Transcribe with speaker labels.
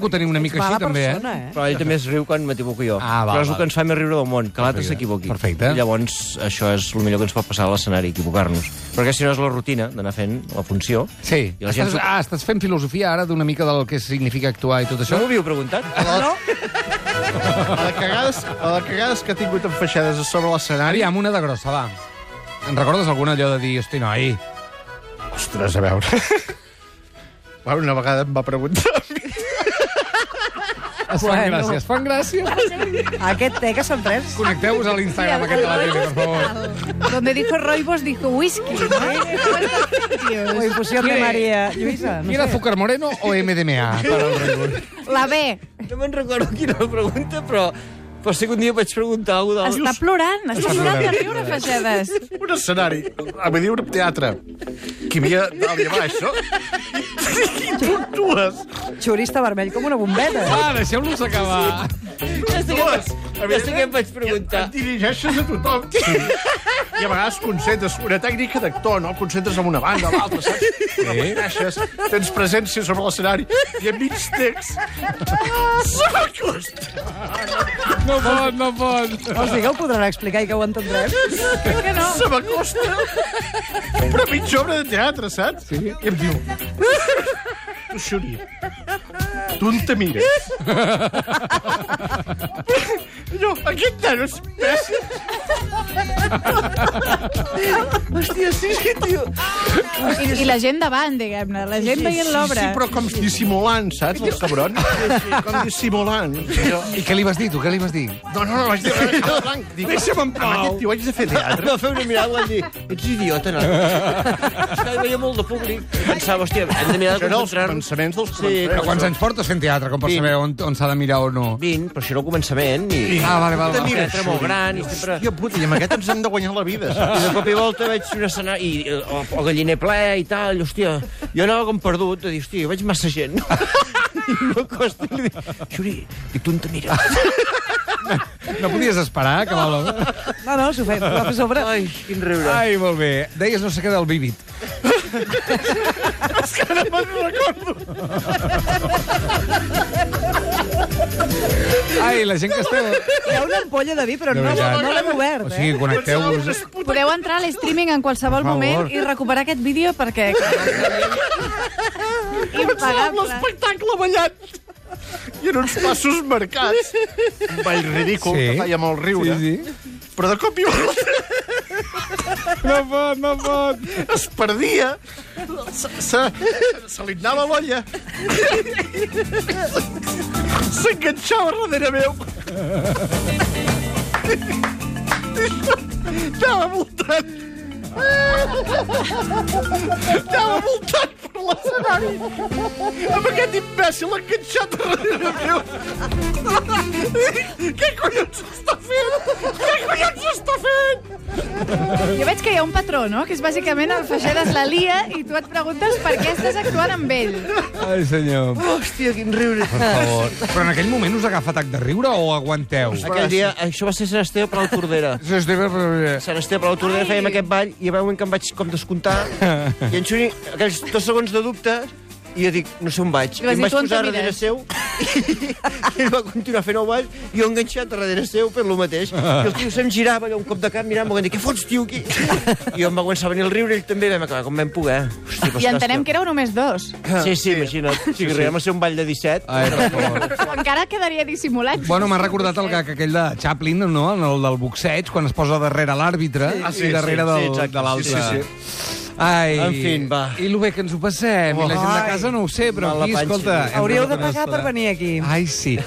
Speaker 1: que ho tenim una mica així,
Speaker 2: mala
Speaker 1: també,
Speaker 2: persona,
Speaker 1: eh?
Speaker 2: eh?
Speaker 3: Però ell també es riu quan m'equivoco jo.
Speaker 1: Ah, val,
Speaker 3: Però és el
Speaker 1: val.
Speaker 3: que ens fa més riure del món, que l'altre s'equivoqui.
Speaker 1: Perfecte.
Speaker 3: I llavors això és el millor que ens pot passar a l'escenari, equivocar-nos. Perquè si no és la rutina d'anar fent la funció...
Speaker 1: Sí.
Speaker 3: I la gent...
Speaker 1: Estàs, ah, estàs fent filosofia ara d'una mica del que significa actuar i tot
Speaker 3: No
Speaker 1: això?
Speaker 3: m'ho havíeu preguntat?
Speaker 2: No?
Speaker 4: A la cagades, a la cagades que ha tingut amb feixades a sobre l'escenari...
Speaker 1: Aviam, una de grossa, va. En recordes alguna allò de dir, hosti, noi,
Speaker 4: Ostres, a veure... Bueno, una vegada em va preguntar a mi.
Speaker 1: es fan
Speaker 2: Bueno.
Speaker 1: gràcies, fan gràcies.
Speaker 2: Aquest té que s'han pres.
Speaker 1: Connecteu-vos a l'Instagram aquest de la tele, per favor.
Speaker 5: Donde dijo Roibos, dijo whisky.
Speaker 2: La infusió de Maria Lluïsa.
Speaker 1: Mira era Zucker Moreno o MDMA? Per al Raimon.
Speaker 5: La B.
Speaker 3: No me'n recordo quina pregunta, però... Però sí que un dia vaig preguntar a algú de...
Speaker 5: Està plorant, està plorant de riure, Fagedes.
Speaker 4: Un escenari. A dir, un teatre. Que hi havia dalt i a baix, no? I puntues.
Speaker 2: Xurista vermell com una bombeta.
Speaker 1: Ah, deixeu-los acabar.
Speaker 3: Ja sé
Speaker 4: Dues.
Speaker 3: que, ja sé que em vaig preguntar.
Speaker 4: Et dirigeixes a tothom. I a vegades concentres una tècnica d'actor, no? Concentres en una banda, en l'altra, saps? Sí. Reconeixes, tens presència sobre l'escenari i a mig text... Ah. S'acosta!
Speaker 1: No pot, no pot.
Speaker 2: Vols dir que ho podran explicar i que ho entendrem?
Speaker 4: Que no. Se m'acosta! Però mitja obra de teatre, saps? Sí. I em diu... Tu, Xuri, tu on te mires? Jo, aquest nano és imbècil.
Speaker 3: Hòstia, sí, tio.
Speaker 5: I, I la gent davant, diguem-ne, la gent veient l'obra.
Speaker 4: Sí, però com dissimulant, saps, els cabrons? Com dissimulant. Jo,
Speaker 1: I què li vas dir, tu? Què li vas dir?
Speaker 4: No, no, no, vaig dir... Blanc, dic, Deixa'm en pau. Amb aquest tio haig de fer teatre.
Speaker 3: Va fer una mirada i va dir, ets idiota, no? És que hi veia molt de públic. I pensava, hòstia, hem de mirar de
Speaker 4: Això era els
Speaker 3: concentrar-nos.
Speaker 4: pensaments dels
Speaker 3: Sí,
Speaker 4: començaments.
Speaker 1: Però quants anys portes fent teatre, com per
Speaker 3: Vint.
Speaker 1: saber on, on s'ha de mirar o no?
Speaker 3: 20, però això era el començament. I...
Speaker 1: Ah, vale, vale.
Speaker 3: Un
Speaker 1: vale.
Speaker 3: teatre molt gran. I, sempre...
Speaker 4: Hòstia puta, i amb aquest ens hem de guanyar la vida. saps?
Speaker 3: I de cop i volta veig un escenari, i, eh, el, el galliner ple i tal, i, hòstia, jo anava com perdut, de dir, hòstia, veig massa gent. I no costa, li dic, Xuri, dic, tu on te mires?
Speaker 1: No podies esperar que va...
Speaker 2: No, no, s'ho fem. Però a sobre...
Speaker 3: Ai, quin riure.
Speaker 1: Ai, molt bé. Deies no sé què del Vivid. És que no me'n recordo. Ai, la gent que esteu...
Speaker 2: Hi ha una ampolla de vi, però no,
Speaker 1: veritat.
Speaker 2: no l'hem obert,
Speaker 1: O
Speaker 2: eh?
Speaker 1: sigui, connecteu-vos...
Speaker 5: Podeu entrar a l'streaming en qualsevol moment i recuperar aquest vídeo perquè... Impagable.
Speaker 4: L'espectacle ballant. I en uns passos marcats. Un ball ridícul, sí. que feia molt riure. Sí,
Speaker 1: Sí, sí.
Speaker 4: sí. Però de cop i volta
Speaker 1: No pot, no pot.
Speaker 4: es perdia. Se, se, se li anava l'olla. S'enganxava darrere meu. Anava voltant. Anava voltant per l'escenari. Amb aquest imbècil enganxat darrere meu. Què collons està fent? Què collons està fent?
Speaker 5: Jo veig que hi ha un patró, no? Que és bàsicament el Fagedes la lia i tu et preguntes per què estàs actuant amb ell.
Speaker 1: Ai, senyor.
Speaker 3: Hòstia, quin riure.
Speaker 1: Per favor. Però en aquell moment us agafa atac de riure o aguanteu?
Speaker 3: Aquell dia, això va ser Sant Esteve Palau Tordera. Sant Esteve Palau Tordera fèiem aquest ball i hi va un moment que em vaig com descomptar i en Xuri, aquells dos segons de dubte i jo dic, no sé on vaig.
Speaker 5: I vas
Speaker 3: I em
Speaker 5: dir,
Speaker 3: vaig
Speaker 5: "Tu on
Speaker 3: posar
Speaker 5: te
Speaker 3: darrere
Speaker 5: mires?"
Speaker 3: seu i, i va continuar fent el ball i jo enganxat darrere seu fent lo mateix. I el tio se'm girava allò un cop de cap mirant, em va dir, què fots, tio, aquí? I jo em va començar a venir el riure, ell també vam acabar com vam poder. Hosti,
Speaker 5: I entenem que éreu només dos.
Speaker 3: Sí, sí, imagina't. Sí, sí, sí. a ser un ball de 17.
Speaker 1: Ai, per favor.
Speaker 5: Encara quedaria dissimulat.
Speaker 1: Bueno, m'ha recordat el gag aquell de Chaplin, no? En el del boxeig, quan es posa darrere l'àrbitre
Speaker 3: Ah, sí,
Speaker 1: i darrere
Speaker 3: sí, sí,
Speaker 1: del,
Speaker 3: exacte.
Speaker 1: de l'altre.
Speaker 3: Sí, sí,
Speaker 1: Ai,
Speaker 3: En fin, va.
Speaker 1: I lo bé que ens ho passem. I la gent de casa no ho sé, però
Speaker 3: Mala
Speaker 1: aquí,
Speaker 3: panxa.
Speaker 1: escolta... hem
Speaker 2: Hauríeu de
Speaker 1: rebut una
Speaker 2: pagar per
Speaker 1: estona.
Speaker 2: venir aquí.
Speaker 1: Ai, sí.